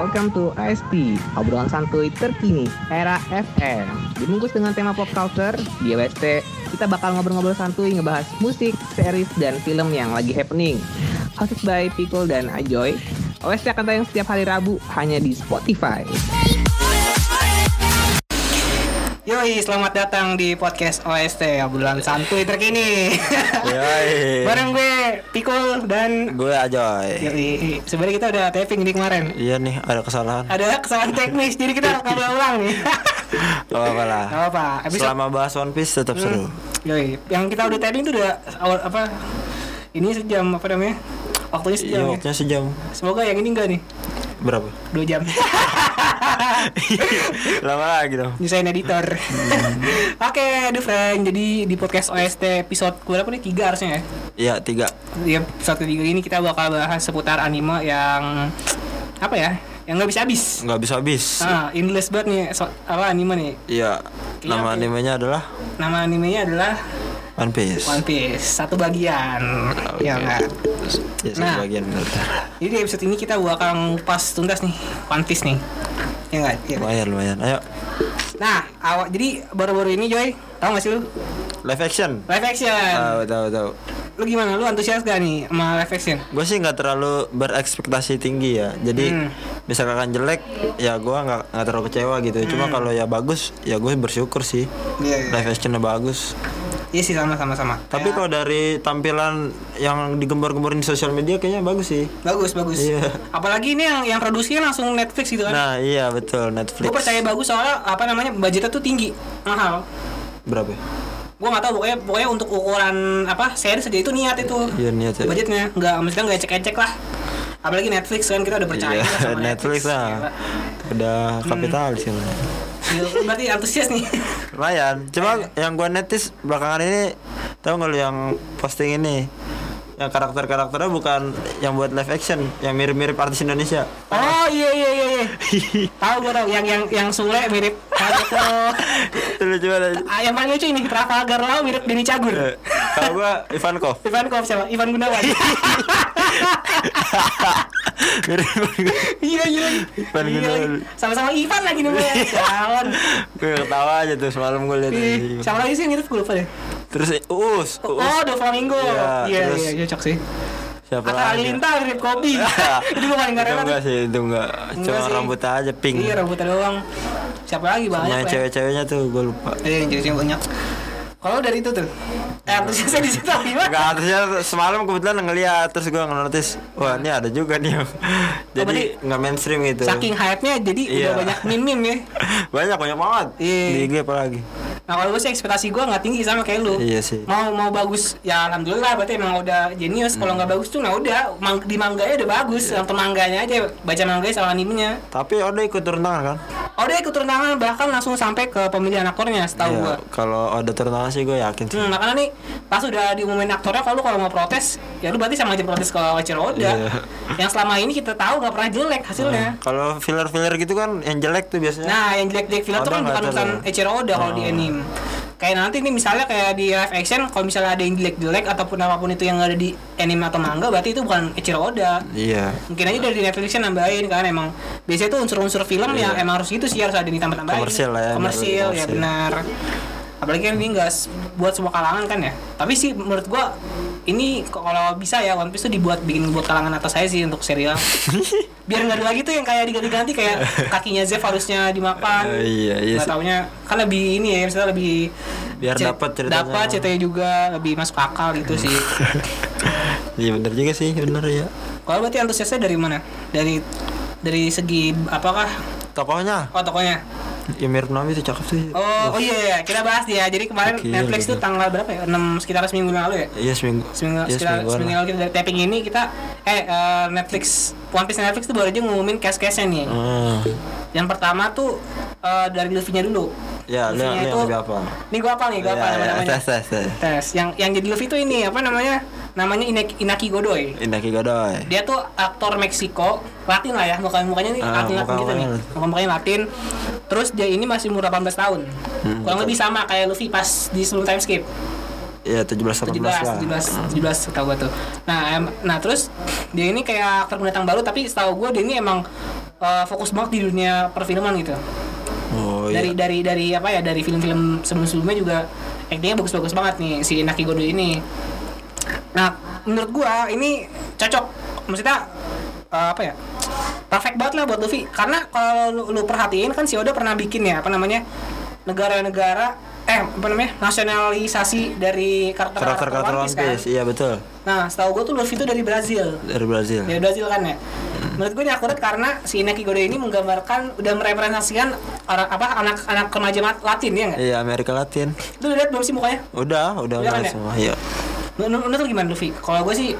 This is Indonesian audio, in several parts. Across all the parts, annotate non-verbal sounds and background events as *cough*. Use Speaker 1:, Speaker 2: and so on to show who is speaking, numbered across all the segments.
Speaker 1: welcome to ASP, obrolan santuy terkini, era FM. Dibungkus dengan tema pop culture, di WST, kita bakal ngobrol-ngobrol santuy ngebahas musik, series, dan film yang lagi happening. Hosted by Pickle dan Ajoy, OST akan tayang setiap hari Rabu hanya di Spotify. Yoi, selamat datang di podcast OST, obrolan santuy terkini.
Speaker 2: Yoi.
Speaker 1: Bareng Iya. gue, Pikul, dan
Speaker 2: Gue Ajoy.
Speaker 1: Yoi. Sebenarnya kita udah taping nih kemarin.
Speaker 2: Iya nih ada kesalahan.
Speaker 1: Ada kesalahan teknis, jadi kita kabel ulang
Speaker 2: *laughs*
Speaker 1: nih.
Speaker 2: Gak apa-apa lah.
Speaker 1: Gak Hmm. apa, episode
Speaker 2: Selama bahas One Piece tetap seru.
Speaker 1: Yoi, yang kita udah taping tuh udah awal apa? Ini sejam apa namanya? Waktunya sejam.
Speaker 2: Iya
Speaker 1: ya.
Speaker 2: waktunya sejam
Speaker 1: Semoga yang ini enggak nih, *laughs*
Speaker 2: berapa?
Speaker 1: dua
Speaker 2: *laughs*
Speaker 1: jam.
Speaker 2: Lama lagi dong.
Speaker 1: Nyusahin editor.
Speaker 2: Hmm.
Speaker 1: Oke, aduh friend. Jadi di podcast OST episode berapa nih? Tiga harusnya ya.
Speaker 2: Iya tiga.
Speaker 1: Ya episode tiga ini kita bakal bahas seputar anime yang apa ya? Yang nggak bisa habis.
Speaker 2: Nggak bisa habis.
Speaker 1: Ah, endless banget nih so, apa anime nih.
Speaker 2: Iya. Nama animenya adalah
Speaker 1: Nama animenya adalah
Speaker 2: One Piece.
Speaker 1: One Piece, satu bagian.
Speaker 2: Oke.
Speaker 1: Ya enggak.
Speaker 2: Ya,
Speaker 1: Nah.
Speaker 2: satu bagian benar.
Speaker 1: Jadi di episode ini kita bakal ngupas tuntas nih One Piece nih. Ya enggak? Ya.
Speaker 2: Lumayan lumayan. Ayo
Speaker 1: Nah, awak jadi baru-baru ini Joy, tahu gak sih lu
Speaker 2: live action.
Speaker 1: live action?
Speaker 2: Tahu tahu tahu.
Speaker 1: Lu gimana? Lu antusias gak nih sama live action?
Speaker 2: Gue sih nggak terlalu berekspektasi tinggi ya. Jadi
Speaker 1: Hmm.
Speaker 2: misalkan jelek ya gue nggak nggak terlalu kecewa gitu. Cuma
Speaker 1: Hmm.
Speaker 2: kalau ya bagus ya gue bersyukur sih.
Speaker 1: Iya.
Speaker 2: Live actionnya bagus.
Speaker 1: Iya sih sama sama Ya. sama.
Speaker 2: Tapi
Speaker 1: Kayak-
Speaker 2: kalau dari tampilan yang digembar-gemborin di sosial media kayaknya bagus sih.
Speaker 1: bagus bagus.
Speaker 2: Iya.
Speaker 1: Apalagi ini yang yang produksinya langsung Netflix gitu kan.
Speaker 2: Nah, iya betul
Speaker 1: Gue
Speaker 2: Netflix.
Speaker 1: percaya bagus soalnya apa namanya budgetnya tuh tinggi, mahal.
Speaker 2: Berapa? ya?
Speaker 1: Gue nggak tahu pokoknya pokoknya untuk ukuran apa series aja itu niat itu.
Speaker 2: Iya niat ya.
Speaker 1: budgetnya nggak maksudnya nggak ecek-ecek lah apalagi Netflix kan kita udah percaya
Speaker 2: Iya,
Speaker 1: lah sama Iya,
Speaker 2: Netflix
Speaker 1: Gila.
Speaker 2: lah. Udah
Speaker 1: Hmm.
Speaker 2: kapitalis ya.
Speaker 1: Gila, Iya, lu berarti antusias
Speaker 2: *laughs*
Speaker 1: nih
Speaker 2: Lumayan.
Speaker 1: Eh.
Speaker 2: Cuma yang gua netis belakangan ini tahu nggak lu yang posting ini? Yang karakter-karakternya bukan yang buat live action, yang mirip-mirip artis Indonesia. *laughs*
Speaker 1: oh iya iya iya iya tahu gue tahu yang yang yang Sule
Speaker 2: *laughs*
Speaker 1: mirip Naruto
Speaker 2: Itu lucu banget.
Speaker 1: ah, yang paling lucu ini Trafalgar Law mirip Denny Cagur
Speaker 2: Eh, Kalau gua Ivankov. *laughs*
Speaker 1: Ivan Kov siapa Ivan Gunawan
Speaker 2: Iya, Mirip
Speaker 1: gila gila
Speaker 2: iya, Ivan
Speaker 1: Gila,
Speaker 2: Gunawan. Iya.
Speaker 1: gila. sama-sama Ivan lagi
Speaker 2: *laughs*
Speaker 1: namanya calon
Speaker 2: gue ketawa aja tuh semalam gue lihat
Speaker 1: Ih, siapa lagi sih yang mirip gue lupa deh
Speaker 2: terus uus uus
Speaker 1: oh Do Flamingo
Speaker 2: Uh-uh. Iya,
Speaker 1: iya
Speaker 2: terus-
Speaker 1: iya cocok sih
Speaker 2: siapa
Speaker 1: Atta Halilintar mirip kopi *laughs* itu gue paling gak rela
Speaker 2: Iya. itu
Speaker 1: tuh.
Speaker 2: enggak sih itu enggak
Speaker 1: Enggak
Speaker 2: cuma
Speaker 1: sih.
Speaker 2: rambutnya aja pink
Speaker 1: Iya rambutnya doang. Siapa lagi banyak?
Speaker 2: yang
Speaker 1: lah.
Speaker 2: cewek-ceweknya tuh gue lupa
Speaker 1: Iya yang cewek banyak. Kalau dari itu tuh, eh harusnya saya di situ
Speaker 2: *laughs*
Speaker 1: gimana?
Speaker 2: Enggak, terusnya semalam kebetulan ngeliat terus gue ngenotis wah ini ada juga nih *laughs* jadi
Speaker 1: Oh, berarti
Speaker 2: nggak mainstream gitu
Speaker 1: Saking hype-nya jadi udah
Speaker 2: Iya.
Speaker 1: banyak meme-meme ya.
Speaker 2: *laughs* banyak banyak banget
Speaker 1: Iya.
Speaker 2: di IG apalagi
Speaker 1: Nah kalau gue sih ekspektasi gue nggak tinggi sama kayak lu.
Speaker 2: Iya sih.
Speaker 1: Mau mau bagus ya alhamdulillah berarti emang udah jenius. Kalau
Speaker 2: Hmm.
Speaker 1: nggak bagus tuh nah udah mang- di mangganya udah bagus.
Speaker 2: Iya.
Speaker 1: Yang temangganya aja baca manganya sama animenya.
Speaker 2: tapi Oda ikut turun tangan kan
Speaker 1: Oh dia ikut turun tangan bahkan langsung sampai ke pemilihan aktornya setahu
Speaker 2: Iya,
Speaker 1: gue.
Speaker 2: kalau Oda turun tangan sih gue yakin sih
Speaker 1: Hmm, makanya nih pas udah diumumin aktornya kalau lu kalau mau protes ya lu berarti sama aja protes ke Wacir Oda
Speaker 2: Iya.
Speaker 1: yang selama ini kita tahu nggak pernah jelek hasilnya
Speaker 2: kalau filler-filler gitu kan yang jelek tuh biasanya
Speaker 1: nah yang jelek-jelek filler tuh
Speaker 2: Oda
Speaker 1: kan
Speaker 2: nggak Oh.
Speaker 1: bukan
Speaker 2: tahu.
Speaker 1: urusan Echiro Oda kalau di anime kayak nanti nih misalnya kayak di live action kalau misalnya ada yang jelek-jelek ataupun apapun itu yang nggak ada di anime atau manga berarti itu bukan Echiro Oda
Speaker 2: iya
Speaker 1: mungkin aja dari Netflixnya nambahin kan emang biasanya tuh unsur-unsur film yang emang harus gitu sih harus ada yang ditambah-tambahin
Speaker 2: Iya. Komersil lah ya,
Speaker 1: komersil
Speaker 2: baru
Speaker 1: ya
Speaker 2: komersil.
Speaker 1: benar apalagi kan ini nggak s- buat semua kalangan kan ya tapi sih menurut gua ini k- kalau bisa ya One Piece tuh dibuat bikin buat kalangan atas saya sih untuk
Speaker 2: *laughs*
Speaker 1: serial biar nggak ada lagi tuh yang kayak diganti-ganti kayak kakinya Zeff harusnya dimakan
Speaker 2: Eh, iya, iya
Speaker 1: Nah. nggak
Speaker 2: sih.
Speaker 1: taunya kan lebih ini ya misalnya lebih
Speaker 2: Biar
Speaker 1: cer-
Speaker 2: dapat ceritanya.
Speaker 1: dapat ceritanya juga lebih masuk akal
Speaker 2: *laughs*
Speaker 1: gitu sih
Speaker 2: iya bener juga sih bener ya
Speaker 1: kalau berarti antusiasnya dari mana dari dari segi apakah
Speaker 2: tokohnya
Speaker 1: Oh tokonya.
Speaker 2: Ya mirip Nami tuh cakep sih.
Speaker 1: Oh, oh iya iya kita bahas ya. Jadi kemarin
Speaker 2: Oke,
Speaker 1: Netflix tuh tanggal berapa ya? 6 sekitar seminggu yang lalu ya.
Speaker 2: Iya seminggu.
Speaker 1: Seminggu
Speaker 2: Iya,
Speaker 1: sekitar
Speaker 2: semingguan
Speaker 1: seminggu
Speaker 2: lah.
Speaker 1: lalu kita dari taping ini kita eh eh, Netflix One Piece Netflix tuh baru aja ngumumin cast-castnya nih.
Speaker 2: Hmm.
Speaker 1: Yang pertama tuh eh, dari Luffy-nya dulu.
Speaker 2: Ya, lu yang- lu yang lebih apa?
Speaker 1: Nih gua apa nih? Gua apa
Speaker 2: Ya, ya,
Speaker 1: namanya?
Speaker 2: tes, tes, tes.
Speaker 1: Tes. Yang yang jadi Luffy tuh ini apa namanya? Namanya Inaki, Inaki Godoy.
Speaker 2: Inaki Godoy.
Speaker 1: dia tuh aktor Meksiko Latin lah ya mukanya mukanya nih
Speaker 2: Ah,
Speaker 1: Latin Latin gitu nih
Speaker 2: muka-mukanya
Speaker 1: muka mukanya Latin terus dia ini masih umur 18 tahun kurang lebih sama kayak Luffy pas di sebelum time skip
Speaker 2: Ya 17 18 lah.
Speaker 1: 17 17 17 tau gue tuh nah em- nah terus dia ini kayak aktor pendatang baru tapi setahu gue dia ini emang eh, fokus banget di dunia perfilman gitu.
Speaker 2: oh
Speaker 1: dari
Speaker 2: iya
Speaker 1: dari dari apa ya dari film-film sebelum-sebelumnya juga actingnya bagus-bagus banget nih si Naki Godo ini. Nah menurut gua ini cocok maksudnya eh, apa ya perfect banget lah buat Luffy karena kalau lu, lu perhatiin kan si Oda pernah bikin ya apa namanya negara-negara eh apa namanya nasionalisasi dari karakter
Speaker 2: karakter karakter One Piece iya betul
Speaker 1: kan. Nah setahu gua tuh Luffy itu dari Brazil
Speaker 2: dari Brazil
Speaker 1: dari Brazil kan ya menurut gue ini akurat karena si Inaki Gore ini menggambarkan udah merepresentasikan orang apa anak-anak remaja mat- Latin ya nggak?
Speaker 2: iya Amerika Latin
Speaker 1: Lu udah lihat belum sih mukanya?
Speaker 2: udah udah
Speaker 1: Udah
Speaker 2: udah
Speaker 1: kan ya?
Speaker 2: semua iya
Speaker 1: Menurut menurut lu gimana Luffy? Kalau gue sih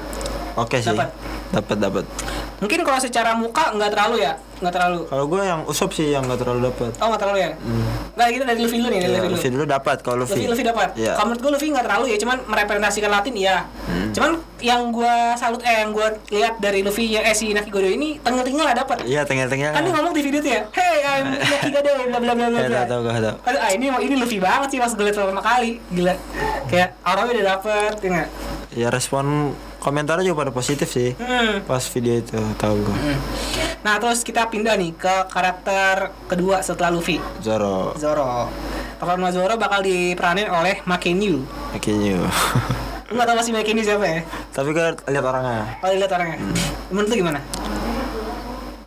Speaker 2: oke sih
Speaker 1: Dapat.
Speaker 2: dapat dapat
Speaker 1: mungkin kalau secara muka nggak terlalu ya nggak terlalu
Speaker 2: kalau gue yang usop sih yang nggak terlalu dapat
Speaker 1: oh nggak terlalu ya nggak gitu dari Luffy dulu nih dari Luffy
Speaker 2: Ya,
Speaker 1: dulu
Speaker 2: Hmm. Luffy dulu dapat kalau
Speaker 1: Luffy
Speaker 2: Luffy
Speaker 1: Luffy dapat
Speaker 2: Iya. Hmm.
Speaker 1: kalau menurut gue Luffy nggak terlalu ya cuman merepresentasikan Latin ya cuman yang gue salut eh yang gue lihat dari Luffy ya eh si Inaki Gore ini tengil-tengil lah dapat
Speaker 2: iya tengah-tengah
Speaker 1: kan dia ngomong di video tuh ya hey I'm
Speaker 2: *laughs*
Speaker 1: Inaki Gore bla bla bla bla
Speaker 2: ya
Speaker 1: bla."
Speaker 2: tahu tahu tahu
Speaker 1: Aduh, ah, ini ini Luffy banget sih pas gue liat pertama kali Gila Kayak auranya udah dapet, ya nggak?
Speaker 2: ya respon komentarnya juga pada positif sih
Speaker 1: Hmm.
Speaker 2: pas video itu tahu gue
Speaker 1: Nah terus kita pindah nih ke karakter kedua setelah Luffy
Speaker 2: Zoro
Speaker 1: Zoro Peran Zoro bakal diperanin oleh Makenyu
Speaker 2: akhirnya
Speaker 1: Lu gak tau masih Makenyu siapa ya?
Speaker 2: *laughs* tapi gue lihat orangnya
Speaker 1: Kalau lihat orangnya Menurut lu gimana?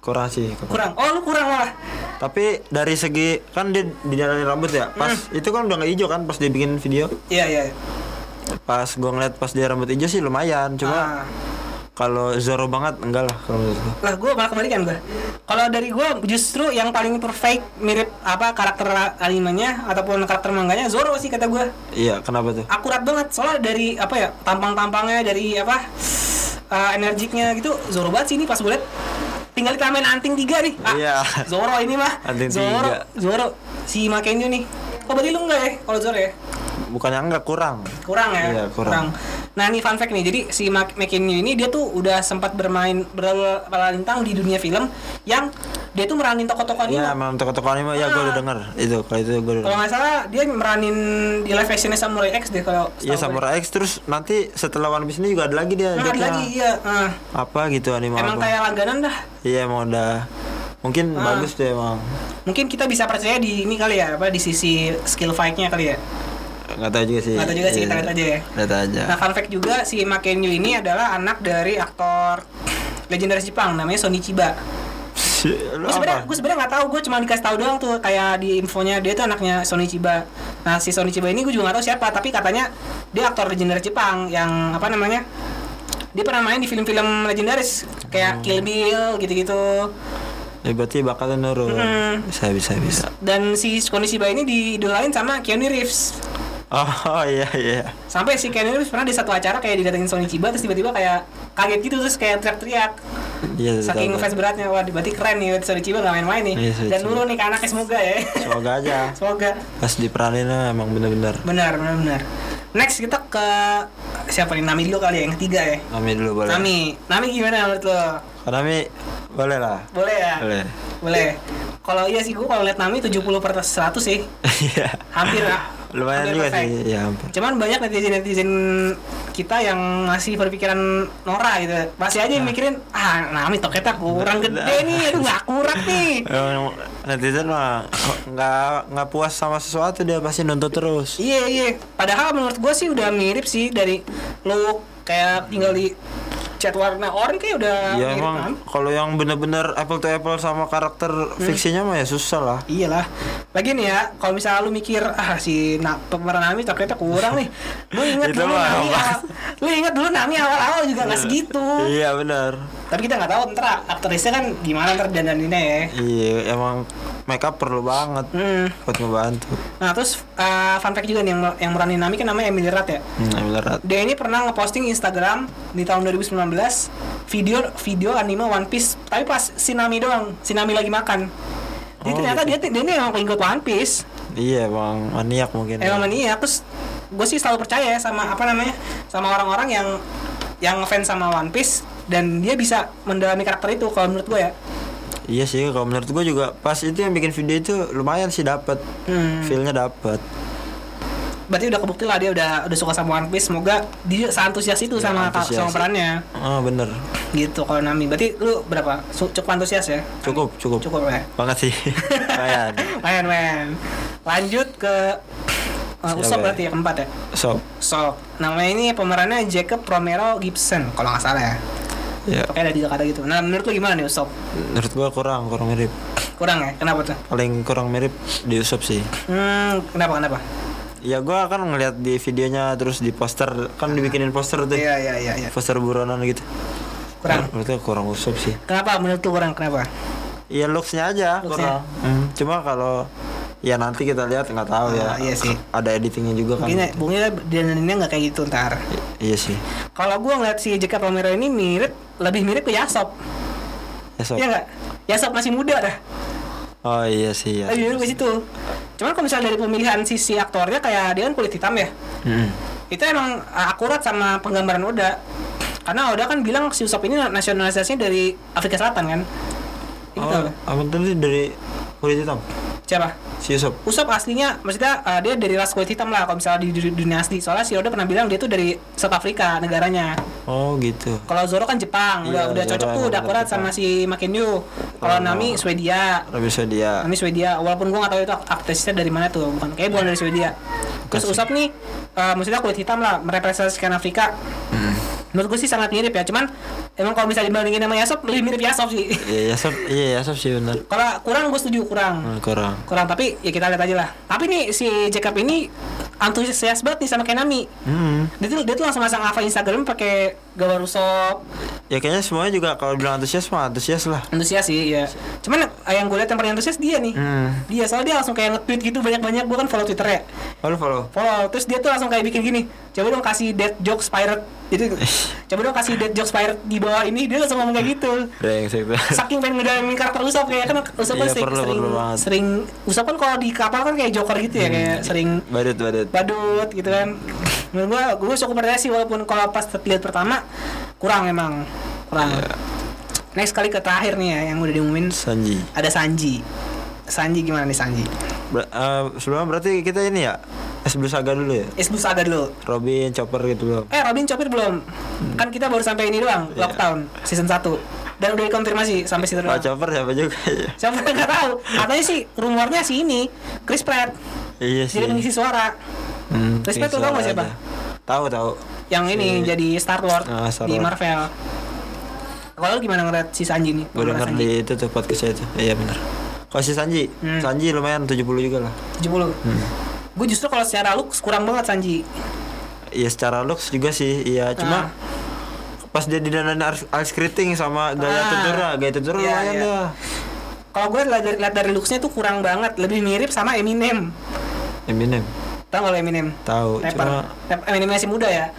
Speaker 2: kurang sih
Speaker 1: Kurang? Oh lu kurang malah
Speaker 2: tapi dari segi kan dia dinyalain rambut ya pas
Speaker 1: Hmm.
Speaker 2: itu kan udah nggak hijau kan pas dia bikin video
Speaker 1: Iya iya
Speaker 2: pas gue ngeliat pas dia rambut hijau sih lumayan cuma
Speaker 1: Ah.
Speaker 2: kalau Zoro banget enggak lah kalau menurut gue
Speaker 1: Lah gue malah kebalikan gue Kalau dari gue justru yang paling perfect mirip apa karakter animenya Ataupun karakter manganya Zoro sih kata gue
Speaker 2: iya kenapa tuh
Speaker 1: akurat banget soalnya dari apa ya tampang-tampangnya dari apa eh, energiknya gitu Zoro banget sih ini pas gue liat tinggal ditambahin anting tiga nih Ah,
Speaker 2: Iya.
Speaker 1: Zoro ini mah
Speaker 2: Anting
Speaker 1: Zoro
Speaker 2: tiga.
Speaker 1: Zoro si Makenju nih oh berarti lu enggak ya kalau Zoro ya
Speaker 2: bukannya enggak kurang
Speaker 1: kurang ya
Speaker 2: Iya, kurang.
Speaker 1: nah ini fun fact nih jadi si Ma- Makenju ini dia tuh udah sempat bermain berlintang di dunia film yang dia tuh meranin tokoh-tokoh ini
Speaker 2: Iya, emang toko-toko anime ya gue udah
Speaker 1: Ah.
Speaker 2: denger itu kalau itu gue udah
Speaker 1: kalau
Speaker 2: denger.
Speaker 1: nggak salah dia meranin di live actionnya Samurai X deh kalau setahu
Speaker 2: Iya
Speaker 1: gue.
Speaker 2: Samurai X terus nanti setelah One Piece ini juga ada lagi dia
Speaker 1: Nah, ada
Speaker 2: jobnya.
Speaker 1: lagi iya ah.
Speaker 2: apa gitu anime
Speaker 1: emang
Speaker 2: apa.
Speaker 1: kayak langganan dah
Speaker 2: Iya emang udah mungkin
Speaker 1: Ah.
Speaker 2: bagus deh emang
Speaker 1: mungkin kita bisa percaya di ini kali ya apa di sisi skill fight-nya kali ya
Speaker 2: nggak tahu juga sih.
Speaker 1: Nggak tahu juga sih, kita lihat aja ya.
Speaker 2: Lihat aja.
Speaker 1: nah fun fact juga si Makenyu ini adalah anak dari aktor legendaris Jepang namanya Sony Chiba
Speaker 2: Si- *laughs* Lu
Speaker 1: gue sebenarnya
Speaker 2: apa?
Speaker 1: gue sebenarnya nggak tahu gue cuma dikasih tahu doang tuh kayak di infonya dia tuh anaknya Sony Chiba nah si Sony Chiba ini gue juga nggak tahu siapa tapi katanya dia aktor legendaris Jepang yang apa namanya dia pernah main di film-film legendaris
Speaker 2: Oh.
Speaker 1: kayak Kill Bill gitu-gitu
Speaker 2: Ya, berarti bakal nurun.
Speaker 1: Mm-mm.
Speaker 2: Bisa bisa bisa.
Speaker 1: dan si Sony Chiba ini diidolain sama Keanu Reeves
Speaker 2: Oh *laughs* iya iya.
Speaker 1: sampai si Keanu Reeves pernah di satu acara kayak didatengin Sony Chiba terus tiba-tiba kayak kaget gitu terus kayak teriak-teriak
Speaker 2: Iya
Speaker 1: saking
Speaker 2: tahu, tahu.
Speaker 1: fans beratnya wah berarti keren nih Sony Chiba gak main-main nih
Speaker 2: Iya, Sony
Speaker 1: dan
Speaker 2: Chiba.
Speaker 1: dulu nih ke anaknya semoga ya *laughs*
Speaker 2: Semoga aja.
Speaker 1: semoga
Speaker 2: Pas diperanin lah, emang bener-bener.
Speaker 1: benar benar benar next kita ke siapa nih Nami dulu kali ya yang ketiga ya
Speaker 2: Nami dulu boleh.
Speaker 1: Nami Nami gimana menurut lo
Speaker 2: Kalau Nami boleh lah.
Speaker 1: boleh ya
Speaker 2: Boleh.
Speaker 1: boleh kalau iya sih gue kalau lihat Nami 70 per 100 sih
Speaker 2: Iya.
Speaker 1: hampir lah
Speaker 2: *laughs* Lumayan
Speaker 1: Hampir
Speaker 2: juga
Speaker 1: perfect.
Speaker 2: sih. Ya ampun.
Speaker 1: Cuman banyak netizen-netizen kita yang masih berpikiran Nora gitu. Masih aja
Speaker 2: Nah.
Speaker 1: yang mikirin, ah Nami toketnya kurang gede nih, aduh nggak akurat
Speaker 2: *laughs*
Speaker 1: nih.
Speaker 2: Emang netizen mah nggak nggak puas sama sesuatu dia pasti nuntut terus.
Speaker 1: Iya iya. Padahal menurut gue sih udah mirip sih dari look kayak tinggal di cat warna oranye kayak udah
Speaker 2: Ya
Speaker 1: mirip kan?
Speaker 2: emang
Speaker 1: Nami.
Speaker 2: kalau yang bener-bener apple to apple sama karakter
Speaker 1: Hmm.
Speaker 2: fiksinya mah ya susah lah.
Speaker 1: Iyalah. Lagi nih ya, kalau misalnya lu mikir ah si na pemeran Nami toketnya kurang
Speaker 2: *laughs*
Speaker 1: nih. Lu inget
Speaker 2: Itu
Speaker 1: dulu
Speaker 2: mah
Speaker 1: Nami
Speaker 2: apa?
Speaker 1: awal, lu inget dulu Nami awal-awal juga nggak segitu.
Speaker 2: Iya benar.
Speaker 1: Tapi kita nggak tahu ntar aktrisnya kan gimana ntar dandaninnya ya.
Speaker 2: Iya emang makeup perlu banget
Speaker 1: Hmm.
Speaker 2: buat ngebantu.
Speaker 1: Nah terus eh, fun fact juga nih yang yang meranin Nami kan namanya Emily Rat ya.
Speaker 2: Hmm, beneran.
Speaker 1: Dia ini pernah ngeposting Instagram di tahun 2019 video video anime One Piece tapi pas Sinami doang, Sinami lagi makan. Jadi
Speaker 2: Oh,
Speaker 1: ternyata
Speaker 2: gitu.
Speaker 1: dia dia ini emang pengikut One Piece,
Speaker 2: Iya emang maniak mungkin. ya.
Speaker 1: emang mania. Terus gue sih selalu percaya ya sama apa namanya sama orang-orang yang yang fans sama One Piece dan dia bisa mendalami karakter itu kalau menurut gue ya.
Speaker 2: Iya sih kalau menurut gua juga pas itu yang bikin video itu lumayan sih dapat.
Speaker 1: Hmm.
Speaker 2: Feelnya dapat.
Speaker 1: berarti udah kebukti lah dia udah udah suka sama One Piece. Semoga dia seantusias itu
Speaker 2: Ya,
Speaker 1: sama
Speaker 2: antusias.
Speaker 1: sama perannya.
Speaker 2: Ah, bener
Speaker 1: Gitu kalau Nami. Berarti lu berapa? Su- Cukup antusias ya?
Speaker 2: cukup cukup,
Speaker 1: Cukup ya. *laughs*
Speaker 2: banget sih lumayan
Speaker 1: Main main. Lanjut ke uh, Usop
Speaker 2: Siapa ya?
Speaker 1: berarti ya keempat ya.
Speaker 2: sob
Speaker 1: Usop. Namanya ini pemerannya Jacob Romero Gibson kalau nggak salah ya.
Speaker 2: ya
Speaker 1: Pokoknya ada tiga kata gitu. Nah menurut lu gimana nih Usop?
Speaker 2: menurut gua kurang kurang mirip
Speaker 1: Kurang ya? Kenapa tuh?
Speaker 2: paling kurang mirip di Usop sih
Speaker 1: Hmm, kenapa kenapa?
Speaker 2: ya gua kan ngeliat di videonya terus di poster kan dibikinin poster tuh
Speaker 1: Iya iya iya. iya.
Speaker 2: poster buronan gitu
Speaker 1: Kurang.
Speaker 2: menurut gua kurang Usop sih
Speaker 1: Kenapa menurut lu kurang kenapa?
Speaker 2: ya looksnya aja
Speaker 1: Looks-nya.
Speaker 2: kurang Hmm, cuma kalau ya nanti kita lihat nggak tahu
Speaker 1: Ah,
Speaker 2: ya
Speaker 1: iya sih.
Speaker 2: ada editingnya juga kan
Speaker 1: Mungkin ya. mungkin dandanannya nggak kayak gitu ntar.
Speaker 2: I- iya sih
Speaker 1: Kalau gua ngeliat si Jeka Romero ini mirip lebih mirip ke Yasop.
Speaker 2: ya sob
Speaker 1: Iya nggak? Yasop masih muda dah.
Speaker 2: oh iya sih ya
Speaker 1: Lebih mirip ke Eh, situ. Cuman kalau misalnya dari pemilihan sisi aktornya kayak dia kan kulit hitam ya.
Speaker 2: Mm.
Speaker 1: Itu emang uh, akurat sama penggambaran Oda. Karena Oda kan bilang si Usop ini nasionalisasinya dari Afrika Selatan kan. Itu
Speaker 2: Oh, apa tadi dari kulit hitam?
Speaker 1: siapa?
Speaker 2: Si Yusuf.
Speaker 1: Usop aslinya maksudnya uh, dia dari ras kulit hitam lah kalau misalnya di, di dunia asli. Soalnya si Oda pernah bilang dia tuh dari South Africa negaranya.
Speaker 2: Oh, gitu.
Speaker 1: Kalau Zoro kan Jepang, udah
Speaker 2: Iya,
Speaker 1: udah
Speaker 2: Zoro
Speaker 1: cocok tuh
Speaker 2: emang
Speaker 1: udah
Speaker 2: udah
Speaker 1: akurat
Speaker 2: Jepang.
Speaker 1: sama si Makenyu. Kalau
Speaker 2: Oh.
Speaker 1: Nami Swedia.
Speaker 2: Tapi bisa dia.
Speaker 1: Nami Swedia, walaupun gua nggak tahu itu aktrisnya dari mana tuh, bukan kayak bukan dari Swedia. Terus
Speaker 2: Bukan sih.
Speaker 1: Usop nih eh, maksudnya kulit hitam lah merepresentasikan Afrika.
Speaker 2: Hmm.
Speaker 1: Menurut gue sih sangat mirip ya, cuman emang kalau bisa dibandingin sama Yasop lebih mirip Yasop sih. *laughs*
Speaker 2: Iya, Yusuf. Iya, Yusuf sih benar.
Speaker 1: kalau kurang gue setuju kurang.
Speaker 2: Hmm, kurang.
Speaker 1: Kurang tapi ya kita lihat aja lah. Tapi nih si Jacob ini antusias banget nih sama Kenami.
Speaker 2: Hmm.
Speaker 1: Dia tuh, dia tuh langsung masang apa Instagram pakai gambar Usop,
Speaker 2: Ya kayaknya semuanya juga kalau bilang antusias mah antusias lah.
Speaker 1: antusias sih ya cuman eh, yang gue lihat yang paling antusias dia nih
Speaker 2: Hmm.
Speaker 1: dia soalnya dia langsung kayak nge-tweet gitu banyak-banyak gue kan follow twitter ya
Speaker 2: Oh, lu follow.
Speaker 1: follow terus dia tuh langsung kayak bikin gini coba dong kasih dead jokes pirate jadi coba dong kasih dead jokes pirate di bawah ini dia langsung ngomong kayak gitu
Speaker 2: *laughs* Brengsek tuh.
Speaker 1: saking pengen ngedalamin karakter Usop kayak kan Usop kan
Speaker 2: Iya,
Speaker 1: sering,
Speaker 2: perlu-
Speaker 1: sering,
Speaker 2: perlu banget. Hmm.
Speaker 1: sering Usop kan kalau di kapal kan kayak joker gitu ya kayak sering
Speaker 2: Badut, badut.
Speaker 1: *laughs* badut gitu kan menurut gua gua cukup percaya sih walaupun kalau pas terlihat pertama kurang emang kurang
Speaker 2: Iya.
Speaker 1: next kali ke terakhir nih ya yang udah diumumin
Speaker 2: Sanji.
Speaker 1: ada Sanji Sanji gimana nih Sanji
Speaker 2: Ber- eh, sebelumnya berarti kita ini ya eh, sebelum saga dulu ya.
Speaker 1: Isbu Saga dulu
Speaker 2: Robin, Chopper gitu loh.
Speaker 1: eh Robin Chopper belum kan kita baru sampai ini doang
Speaker 2: Iya.
Speaker 1: lockdown season 1 dan udah dikonfirmasi sampai situ
Speaker 2: Oh,
Speaker 1: doang
Speaker 2: Chopper siapa juga
Speaker 1: *laughs*
Speaker 2: ya?
Speaker 1: siapa yang nggak tahu katanya sih rumornya si ini Chris Pratt
Speaker 2: Iya sih.
Speaker 1: jadi pengisi suara
Speaker 2: Hmm,
Speaker 1: Chris Pratt
Speaker 2: tinggi
Speaker 1: lu tau nggak
Speaker 2: suara
Speaker 1: siapa?
Speaker 2: aja. Tahu, tahu.
Speaker 1: yang ini
Speaker 2: Si-
Speaker 1: jadi Star Lord
Speaker 2: Ah, Star
Speaker 1: di
Speaker 2: Lord.
Speaker 1: Marvel kalau lu gimana ngeliat si Sanji nih
Speaker 2: Gue denger di itu tuh podcastnya itu Iya bener Kalau si Sanji
Speaker 1: Hmm.
Speaker 2: Sanji lumayan 70 juga lah
Speaker 1: 70
Speaker 2: Hmm.
Speaker 1: gue justru kalau secara looks kurang banget Sanji
Speaker 2: Iya secara looks juga sih
Speaker 1: Ah.
Speaker 2: Iya cuma Pas dia didanain ar- ice skating sama gaya
Speaker 1: Ah.
Speaker 2: tutura Gaya tutura
Speaker 1: Iya,
Speaker 2: lumayan
Speaker 1: iya.
Speaker 2: dah
Speaker 1: kalau gue lihat dari, lihat dari looksnya tuh kurang banget lebih mirip sama Eminem
Speaker 2: Eminem
Speaker 1: tau gak lo Eminem
Speaker 2: Tahu
Speaker 1: rapper
Speaker 2: Cuma
Speaker 1: Rap- Eminem masih muda ya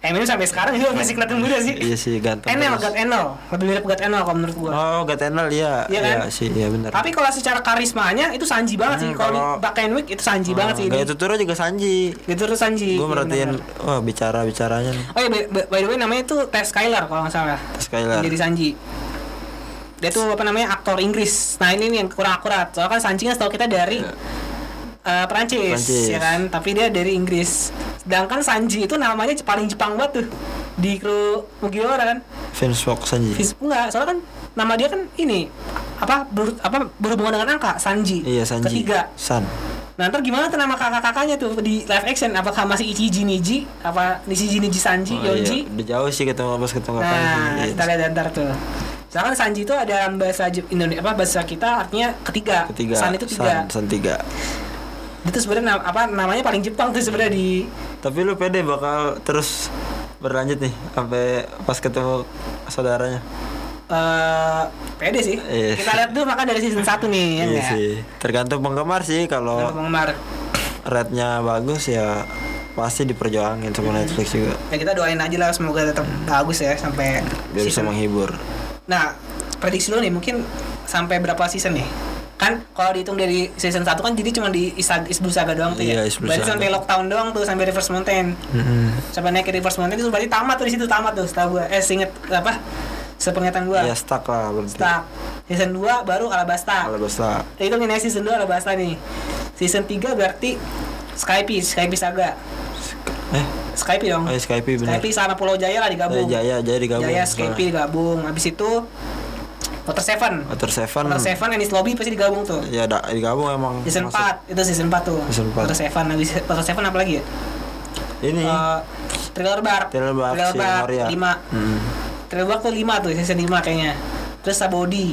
Speaker 1: Eminem sampai sekarang juga masih kelihatan muda sih
Speaker 2: Iya sih ganteng
Speaker 1: Enel,
Speaker 2: terus.
Speaker 1: God Enel Lebih mirip God Enel kalau menurut gue
Speaker 2: Oh Gat Enel iya
Speaker 1: Iya kan?
Speaker 2: sih iya bener
Speaker 1: Tapi kalau secara karismanya itu Sanji banget sih.
Speaker 2: Hmm,
Speaker 1: Kalau
Speaker 2: kalau-
Speaker 1: dipakein wig itu Sanji
Speaker 2: Ah,
Speaker 1: banget sih.
Speaker 2: Gaya
Speaker 1: Ini.
Speaker 2: tutura juga Sanji
Speaker 1: Gitu terus Sanji.
Speaker 2: Gue
Speaker 1: Iya,
Speaker 2: merhatiin
Speaker 1: benar-benar.
Speaker 2: Wah bicara-bicaranya nih
Speaker 1: Oh iya, by, by- by the way namanya itu Tess Skylar kalau nggak salah.
Speaker 2: Skylar
Speaker 1: Yang Jadi Sanji. Dia tuh apa namanya aktor Inggris. Nah ini nih yang kurang akurat. Soalnya kan Sanji kan setahu kita dari eh, Perancis,
Speaker 2: Iya. Perancis.
Speaker 1: ya kan. Tapi dia dari Inggris. Sedangkan Sanji itu namanya paling Jepang banget tuh di kru Mugiwara kan.
Speaker 2: Vince Fox Sanji
Speaker 1: Fis- enggak, soalnya kan nama dia kan ini apa ber, apa berhubungan dengan angka Sanji.
Speaker 2: Iya Sanji
Speaker 1: Ketiga.
Speaker 2: San
Speaker 1: Nah ntar gimana tuh nama kakak-kakaknya tuh di live action? Apakah masih Ichiji Niji? Apa Nishiji Niji Sanji?
Speaker 2: Oh,
Speaker 1: Yonji?
Speaker 2: iya. Udah jauh sih ketemu pas ketemu kapan sih.
Speaker 1: Nah,
Speaker 2: Iya.
Speaker 1: kita lihat ntar tuh. Misalkan Sanji itu ada dalam bahasa Je- Indonesia apa bahasa kita artinya ketiga.
Speaker 2: ketiga
Speaker 1: San itu tiga.
Speaker 2: san, san tiga
Speaker 1: Itu sebenarnya nam- apa namanya paling Jepang tuh sebenarnya di
Speaker 2: tapi lu pede bakal terus berlanjut nih sampai pas ketemu saudaranya
Speaker 1: eh pede sih.
Speaker 2: Iya.
Speaker 1: Kita lihat dulu maka dari season 1 nih ya
Speaker 2: iya
Speaker 1: nggak?
Speaker 2: sih tergantung penggemar sih
Speaker 1: Kalau
Speaker 2: kalau
Speaker 1: penggemar.
Speaker 2: rate-nya bagus ya pasti diperjuangin sama Netflix juga
Speaker 1: Ya kita doain aja lah semoga tetap bagus ya sampai
Speaker 2: biar bisa menghibur
Speaker 1: Nah, prediksi lo nih mungkin sampai berapa season nih? Kan kalau dihitung dari season 1 kan jadi cuma di Isa- Isblu Saga doang tuh ya.
Speaker 2: Iya, Isblu
Speaker 1: berarti
Speaker 2: Saga.
Speaker 1: sampai lockdown doang tuh sampai Reverse Mountain. Sampai naik ke Reverse Mountain itu berarti tamat tuh di situ tamat tuh setahu gua. Eh, singet apa? Sepengetahuan gua.
Speaker 2: ya stuck lah berarti
Speaker 1: Stuck. Season 2 baru Alabasta.
Speaker 2: kalau stuck
Speaker 1: Itu nih season 2 Alabasta nih. Season 3 berarti Skype, Skype Saga.
Speaker 2: Eh,
Speaker 1: Skype dong.
Speaker 2: oh, Skype benar.
Speaker 1: Skype sama Pulau Jaya lah digabung.
Speaker 2: Eh, Jaya, Jaya digabung. Nah,
Speaker 1: Jaya Skype
Speaker 2: Salah.
Speaker 1: digabung. Habis itu Water Seven.
Speaker 2: Water Seven.
Speaker 1: Water Seven Anis Lobby pasti digabung tuh.
Speaker 2: Ya, da, digabung emang.
Speaker 1: Season
Speaker 2: masuk.
Speaker 1: 4, itu season 4 tuh.
Speaker 2: Season empat.
Speaker 1: Water Seven habis Water Seven apa lagi ya?
Speaker 2: Ini.
Speaker 1: Eh, Thriller Bar.
Speaker 2: Thriller Bar, si Moria.
Speaker 1: 5.
Speaker 2: Hmm.
Speaker 1: Trail Black tuh 5 tuh season 5 kayaknya. Terus Sabodi.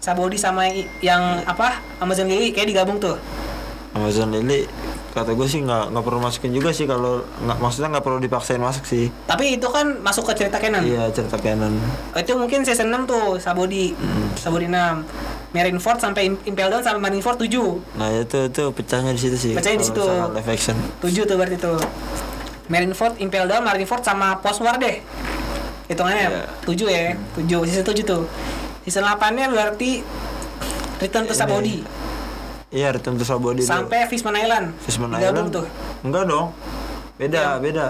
Speaker 1: Sabodi sama i- yang apa? Amazon Lily kayak digabung tuh.
Speaker 2: Amazon Lily kata gue sih nggak nggak perlu masukin juga sih kalau nggak maksudnya nggak perlu dipaksain masuk sih
Speaker 1: Tapi itu kan masuk ke cerita Kenan.
Speaker 2: iya cerita canon
Speaker 1: Itu mungkin season 6 tuh Sabodi.
Speaker 2: Hmm.
Speaker 1: Sabodi 6. Marineford sampai Im- Impel Down sampai Marineford 7.
Speaker 2: nah itu itu pecahnya di situ sih
Speaker 1: Pecahnya di
Speaker 2: kalau
Speaker 1: situ.
Speaker 2: misalnya live action
Speaker 1: 7 tuh berarti tuh. Marineford, Impel Down, Marineford sama Post War deh.
Speaker 2: Iya.
Speaker 1: Hitungannya 7 ya, 7 season 7 tuh. Season 8-nya berarti Return to
Speaker 2: Ini,
Speaker 1: Sabodi
Speaker 2: iya Return to Sabody dulu.
Speaker 1: sampai Fishman Island.
Speaker 2: Fishman
Speaker 1: Digabung
Speaker 2: Island
Speaker 1: tuh. Iya.
Speaker 2: enggak dong beda beda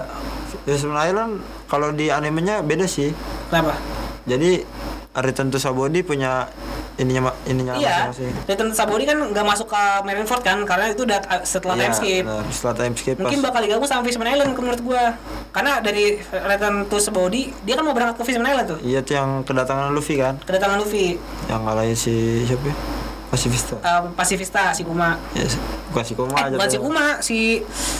Speaker 2: Fishman Island kalau di animenya beda sih
Speaker 1: Kenapa?
Speaker 2: jadi Return to Sabody punya ininya ma- ininya
Speaker 1: Iya,
Speaker 2: masing-masing.
Speaker 1: Return to Sabori kan nggak masuk ke Marineford kan, karena itu udah uh, setelah
Speaker 2: Iya,
Speaker 1: time skip.
Speaker 2: benar. setelah time skip
Speaker 1: Mungkin
Speaker 2: pas
Speaker 1: bakal digabung sama Fishman Island menurut gua. Karena dari Return to Sabori, dia kan mau berangkat ke Fishman Island tuh.
Speaker 2: iya tuh yang kedatangan Luffy kan
Speaker 1: Kedatangan Luffy,
Speaker 2: yang ngalahin si siapa ya? Pasifista
Speaker 1: uh, Pasifista, si Kuma.
Speaker 2: ya, si- bukan si Kuma
Speaker 1: Eh,
Speaker 2: aja
Speaker 1: bukan
Speaker 2: tuh.
Speaker 1: si Kuma, si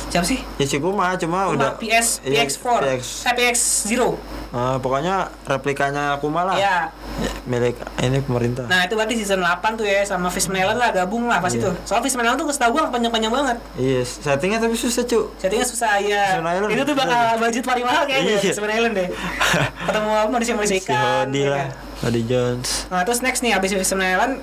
Speaker 1: siapa sih?
Speaker 2: ya si Kuma cuma
Speaker 1: Kuma
Speaker 2: udah
Speaker 1: PS,
Speaker 2: iya,
Speaker 1: PX4,
Speaker 2: PX.
Speaker 1: eh, PX0.
Speaker 2: Eh, pokoknya replikanya Kuma lah
Speaker 1: Iya.
Speaker 2: Ya, milik ini pemerintah
Speaker 1: Nah, itu berarti season 8 tuh ya sama Fishman Island lah gabung lah pasti
Speaker 2: Iya.
Speaker 1: tuh. Soal Fishman Island tuh setahu gua panjang-panjang banget.
Speaker 2: iya settingnya tapi susah cu
Speaker 1: Settingnya susah ya.
Speaker 2: Fishman Island.
Speaker 1: Itu tuh bakal budget paling mahal kayaknya
Speaker 2: Iya.
Speaker 1: Fishman Island
Speaker 2: *laughs*
Speaker 1: deh. Ketemu apa manusia manusia
Speaker 2: si
Speaker 1: ikan.
Speaker 2: Hody
Speaker 1: ya
Speaker 2: lah
Speaker 1: kan?
Speaker 2: Hody Jones
Speaker 1: Nah terus next nih abis Fishman Island,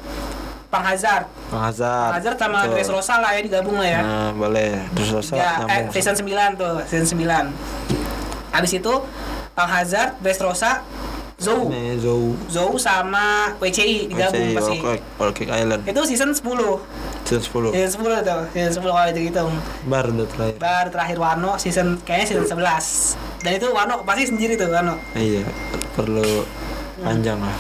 Speaker 1: Pang Hazard,
Speaker 2: Bang Hazard
Speaker 1: Pang Hazard sama
Speaker 2: Ah, Betul.
Speaker 1: Dressrosa lah ya digabung lah ya.
Speaker 2: nah, boleh terus Rosa
Speaker 1: ya, eh,
Speaker 2: nyambung
Speaker 1: season 9 tuh, season 9 Abis itu Pang Hazard, Dressrosa, Zou,
Speaker 2: ini Zou
Speaker 1: Zou sama WCI digabung
Speaker 2: WCI,
Speaker 1: pasti.
Speaker 2: Walk- Walk- Walk Island
Speaker 1: Itu season 10
Speaker 2: season 10
Speaker 1: Season 10 tuh, season 10 kalau dihitung
Speaker 2: bar udah terakhir
Speaker 1: Baru terakhir Wano season kayaknya season 11 dan itu Wano pasti sendiri tuh Wano
Speaker 2: iya perlu
Speaker 1: Hmm.
Speaker 2: panjang lah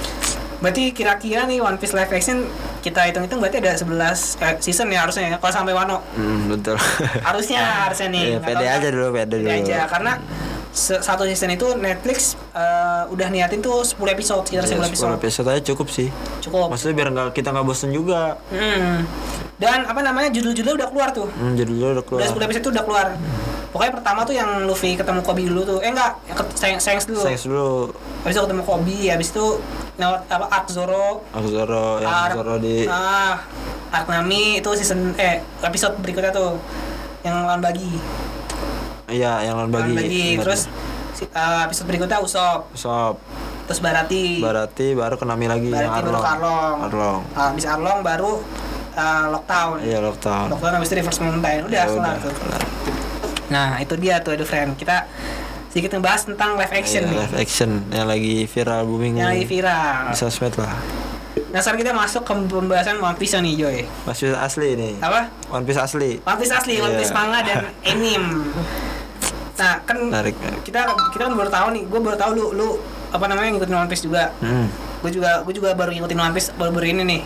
Speaker 1: berarti kira-kira nih One Piece live action kita hitung-hitung berarti ada 11 eh, season ya harusnya ya kalau sampai Wano
Speaker 2: Hmm, *laughs* betul
Speaker 1: harusnya harusnya nih
Speaker 2: Iya,
Speaker 1: Nggak
Speaker 2: pede
Speaker 1: tahu kan.
Speaker 2: aja dulu, pede dulu.
Speaker 1: aja karena se- satu season itu Netflix eh, udah niatin tuh 10 episode sekitar
Speaker 2: Ya,
Speaker 1: 10
Speaker 2: 10
Speaker 1: episode
Speaker 2: episode aja cukup sih
Speaker 1: cukup
Speaker 2: maksudnya biar nggak kita nggak bosen juga
Speaker 1: Hmm. dan apa namanya judul-judulnya udah keluar tuh
Speaker 2: hmm, judulnya udah
Speaker 1: udah
Speaker 2: keluar
Speaker 1: 10 episode tuh udah keluar pokoknya pertama tuh yang Luffy ketemu Kobe dulu tuh eh enggak ke- Shanks Shanks dulu
Speaker 2: Thanks dulu
Speaker 1: habis itu ketemu Kobe habis itu lewat apa Arc Zoro
Speaker 2: Aku Zoro yang
Speaker 1: Arc-
Speaker 2: Zoro di
Speaker 1: ah Arc Nami itu season eh episode berikutnya tuh yang lawan bagi
Speaker 2: Iya, yang lawan
Speaker 1: lawan
Speaker 2: bagi.
Speaker 1: bagi
Speaker 2: Benar.
Speaker 1: terus si- ah, episode berikutnya Usop
Speaker 2: Sop.
Speaker 1: terus Barati
Speaker 2: Barati baru Kenami lagi yang
Speaker 1: Barati baru
Speaker 2: Arlong.
Speaker 1: ke Arlong
Speaker 2: Arlong.
Speaker 1: Ah, habis Arlong baru ah, Lockdown
Speaker 2: Iya, lockdown.
Speaker 1: Lockdown habis itu Reverse Mountain udah
Speaker 2: Ya
Speaker 1: kelar tuh
Speaker 2: kelar.
Speaker 1: nah itu dia tuh The Friend kita sedikit ngebahas tentang live action
Speaker 2: Iya,
Speaker 1: nih
Speaker 2: live action yang lagi viral booming.
Speaker 1: yang lagi viral
Speaker 2: Di sosmed lah.
Speaker 1: nah sekarang kita masuk ke pembahasan One Piece nih Joy
Speaker 2: One Piece asli ini.
Speaker 1: apa
Speaker 2: One Piece asli.
Speaker 1: One Piece asli, One Piece
Speaker 2: Iya.
Speaker 1: manga
Speaker 2: *laughs*
Speaker 1: dan anime. Nah, kan
Speaker 2: Menarik, menarik.
Speaker 1: kita kita kan baru tahu nih, gue baru tahu lu lu apa namanya ngikutin One Piece juga.
Speaker 2: Hmm.
Speaker 1: Gue juga gue juga baru ngikutin One Piece baru-baru ini nih.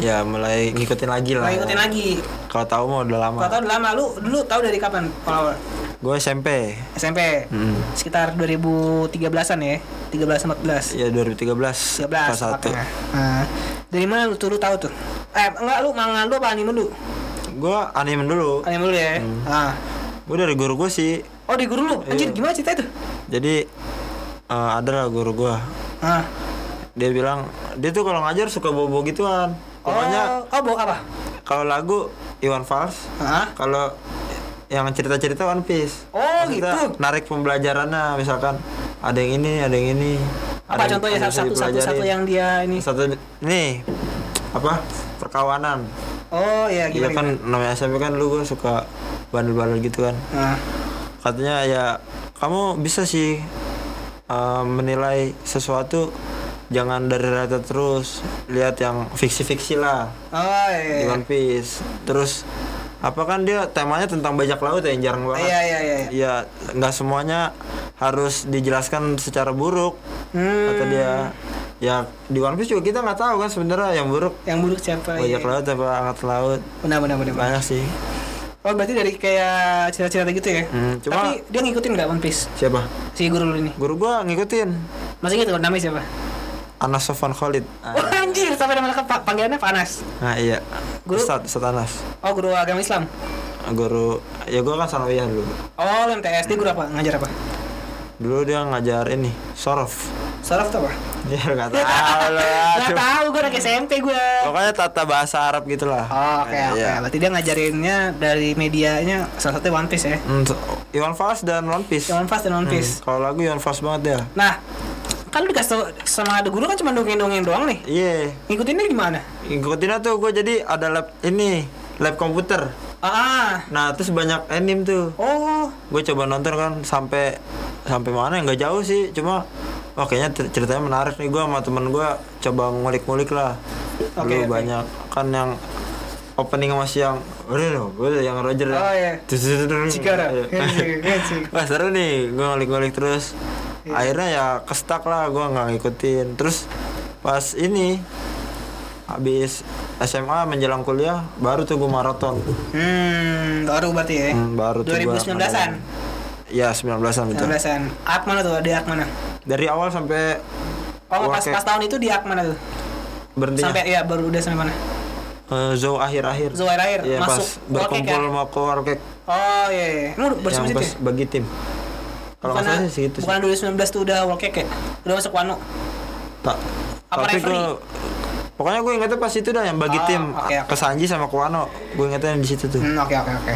Speaker 2: Ya, mulai ngikutin lagi lah.
Speaker 1: Nah, ngikutin lagi.
Speaker 2: Kalau tahu mau udah lama.
Speaker 1: Kalau tahu udah lama lu dulu tahu dari kapan? Kalau
Speaker 2: Gue SMP.
Speaker 1: SMP
Speaker 2: Hmm.
Speaker 1: sekitar 2013-an ya, 13 14.
Speaker 2: Ya 2013.
Speaker 1: 13
Speaker 2: kelas satu.
Speaker 1: tepatnya. Nah, dari mana lu tuh lu tahu tuh? Eh, enggak lu manga lu apa anime lu?
Speaker 2: Gue anime dulu.
Speaker 1: Anime lu ya. Ah.
Speaker 2: Gue dari guru gue sih.
Speaker 1: Oh, di guru lu. Anjir,
Speaker 2: Hmm. Iya.
Speaker 1: gimana cerita itu?
Speaker 2: Jadi eh, ada lah guru gue.
Speaker 1: Ah.
Speaker 2: dia bilang dia tuh kalau ngajar suka bobo gituan pokoknya
Speaker 1: Oh, oh, bawa apa?
Speaker 2: kalau lagu Iwan Fals
Speaker 1: Ah.
Speaker 2: kalau yang cerita-cerita One Piece
Speaker 1: Oh, gitu.
Speaker 2: narik pembelajarannya misalkan ada yang ini ada yang ini
Speaker 1: apa
Speaker 2: ada yang-
Speaker 1: contohnya
Speaker 2: ada yang bisa
Speaker 1: satu satu
Speaker 2: dipelajarin.
Speaker 1: satu yang dia ini
Speaker 2: satu nih apa perkawanan
Speaker 1: oh ya
Speaker 2: iya
Speaker 1: gimana
Speaker 2: kan namanya SMP kan lu gua suka bandel-bandel gitu kan
Speaker 1: gimana? Nah,
Speaker 2: katanya ya kamu bisa sih eh, menilai sesuatu jangan dari rata terus lihat yang fiksi-fiksi lah
Speaker 1: oh
Speaker 2: di
Speaker 1: iya
Speaker 2: One Piece terus apa kan dia temanya tentang bajak laut ya yang jarang banget
Speaker 1: iya iya iya iya.
Speaker 2: ya nggak semuanya harus dijelaskan secara buruk
Speaker 1: hmm,
Speaker 2: kata dia ya di One Piece juga kita nggak tahu kan sebenarnya yang buruk
Speaker 1: yang buruk siapa
Speaker 2: bajak
Speaker 1: iya.
Speaker 2: laut apa angkat laut
Speaker 1: benar benar benar benar.
Speaker 2: banyak sih
Speaker 1: Oh berarti dari kayak cerita-cerita gitu ya?
Speaker 2: Hmm, cuma-
Speaker 1: Tapi dia ngikutin nggak One Piece?
Speaker 2: Siapa?
Speaker 1: Si guru lu ini?
Speaker 2: Guru gua ngikutin
Speaker 1: Masih gitu namanya siapa?
Speaker 2: Anas Sofan Khalid.
Speaker 1: Wah
Speaker 2: Ah,
Speaker 1: anjir sampai nama lengkap Pak. panggilannya Pak Anas.
Speaker 2: Nah, iya.
Speaker 1: Guru?
Speaker 2: Ustaz, Ustaz Anas.
Speaker 1: Oh guru agama Islam.
Speaker 2: Guru ya gua kan sanawiyah dulu.
Speaker 1: Oh lu MTS dia guru apa? Ngajar apa?
Speaker 2: Dulu dia ngajar ini, sorof. *laughs*
Speaker 1: Saraf tuh apa?
Speaker 2: Ya enggak tahu lah.
Speaker 1: Gak
Speaker 2: Ah, cuma-
Speaker 1: tahu gue anak SMP gue.
Speaker 2: Pokoknya tata bahasa Arab gitulah.
Speaker 1: Oh, oke oke.
Speaker 2: Iya.
Speaker 1: Berarti dia ngajarinnya dari medianya salah satunya One Piece ya.
Speaker 2: Hmm, so- Iwan Fals dan One Piece.
Speaker 1: One Piece dan One
Speaker 2: Hmm,
Speaker 1: Piece.
Speaker 2: Kalau lagu Iwan Fals banget ya.
Speaker 1: Nah, kan lu dikasih tau sama ada guru kan cuma dongeng-dongeng doang nih.
Speaker 2: Iya.
Speaker 1: Ngikutinnya gimana?
Speaker 2: Ngikutin tuh gua jadi ada lab ini, lab komputer.
Speaker 1: Ah,
Speaker 2: Nah, terus banyak anime tuh.
Speaker 1: oh,
Speaker 2: gue coba nonton kan sampai sampai mana ya, nggak jauh sih cuma wah kayaknya cer- ceritanya menarik nih gue sama temen gue coba ngulik-ngulik lah
Speaker 1: Oke,
Speaker 2: Dulu
Speaker 1: oke.
Speaker 2: banyak kan yang opening masih yang Reno gue yang Roger ya.
Speaker 1: Oh, iya.
Speaker 2: Tus- tus- tus- tus-
Speaker 1: Cikara.
Speaker 2: Iya.
Speaker 1: Keren
Speaker 2: *laughs*
Speaker 1: sih, *laughs* keren sih.
Speaker 2: wah seru nih gue ngulik-ngulik terus
Speaker 1: Iya.
Speaker 2: akhirnya ya kestak lah gue nggak ngikutin terus pas ini habis SMA menjelang kuliah baru tuh gue maraton
Speaker 1: hmm, baru berarti ya.
Speaker 2: Hmm, baru tuh gua
Speaker 1: 2019-an.
Speaker 2: ngadain. Ya 19-an betul
Speaker 1: 19-an. Ak mana tuh? Di Ak mana?
Speaker 2: Dari awal sampai
Speaker 1: Oh,
Speaker 2: Wah,
Speaker 1: pas
Speaker 2: kayak-
Speaker 1: pas tahun itu di Ak mana tuh?
Speaker 2: berhenti
Speaker 1: Sampai ya baru udah sampai mana?
Speaker 2: Zow eh, akhir-akhir
Speaker 1: Zow akhir-akhir,
Speaker 2: Iya,
Speaker 1: masuk
Speaker 2: pas
Speaker 1: World
Speaker 2: berkumpul
Speaker 1: Cake ya?
Speaker 2: mau ke World Cake
Speaker 1: Oh, iya iya. Emang baru
Speaker 2: Yang
Speaker 1: sampai
Speaker 2: pas
Speaker 1: situ ya?
Speaker 2: bagi tim Kalau nggak salah
Speaker 1: Bukannya-
Speaker 2: sih segitu sih
Speaker 1: Bukan 2019 tuh udah World Cake ya? Udah masuk Wano.
Speaker 2: Tak
Speaker 1: Apa
Speaker 2: Tapi
Speaker 1: referee?
Speaker 2: gue Pokoknya gue ingetnya pas itu dah yang bagi
Speaker 1: Oh,
Speaker 2: tim
Speaker 1: oke, oke.
Speaker 2: ke Sanji sama Kuano Gue ingetnya yang di situ tuh
Speaker 1: Hmm, oke oke oke.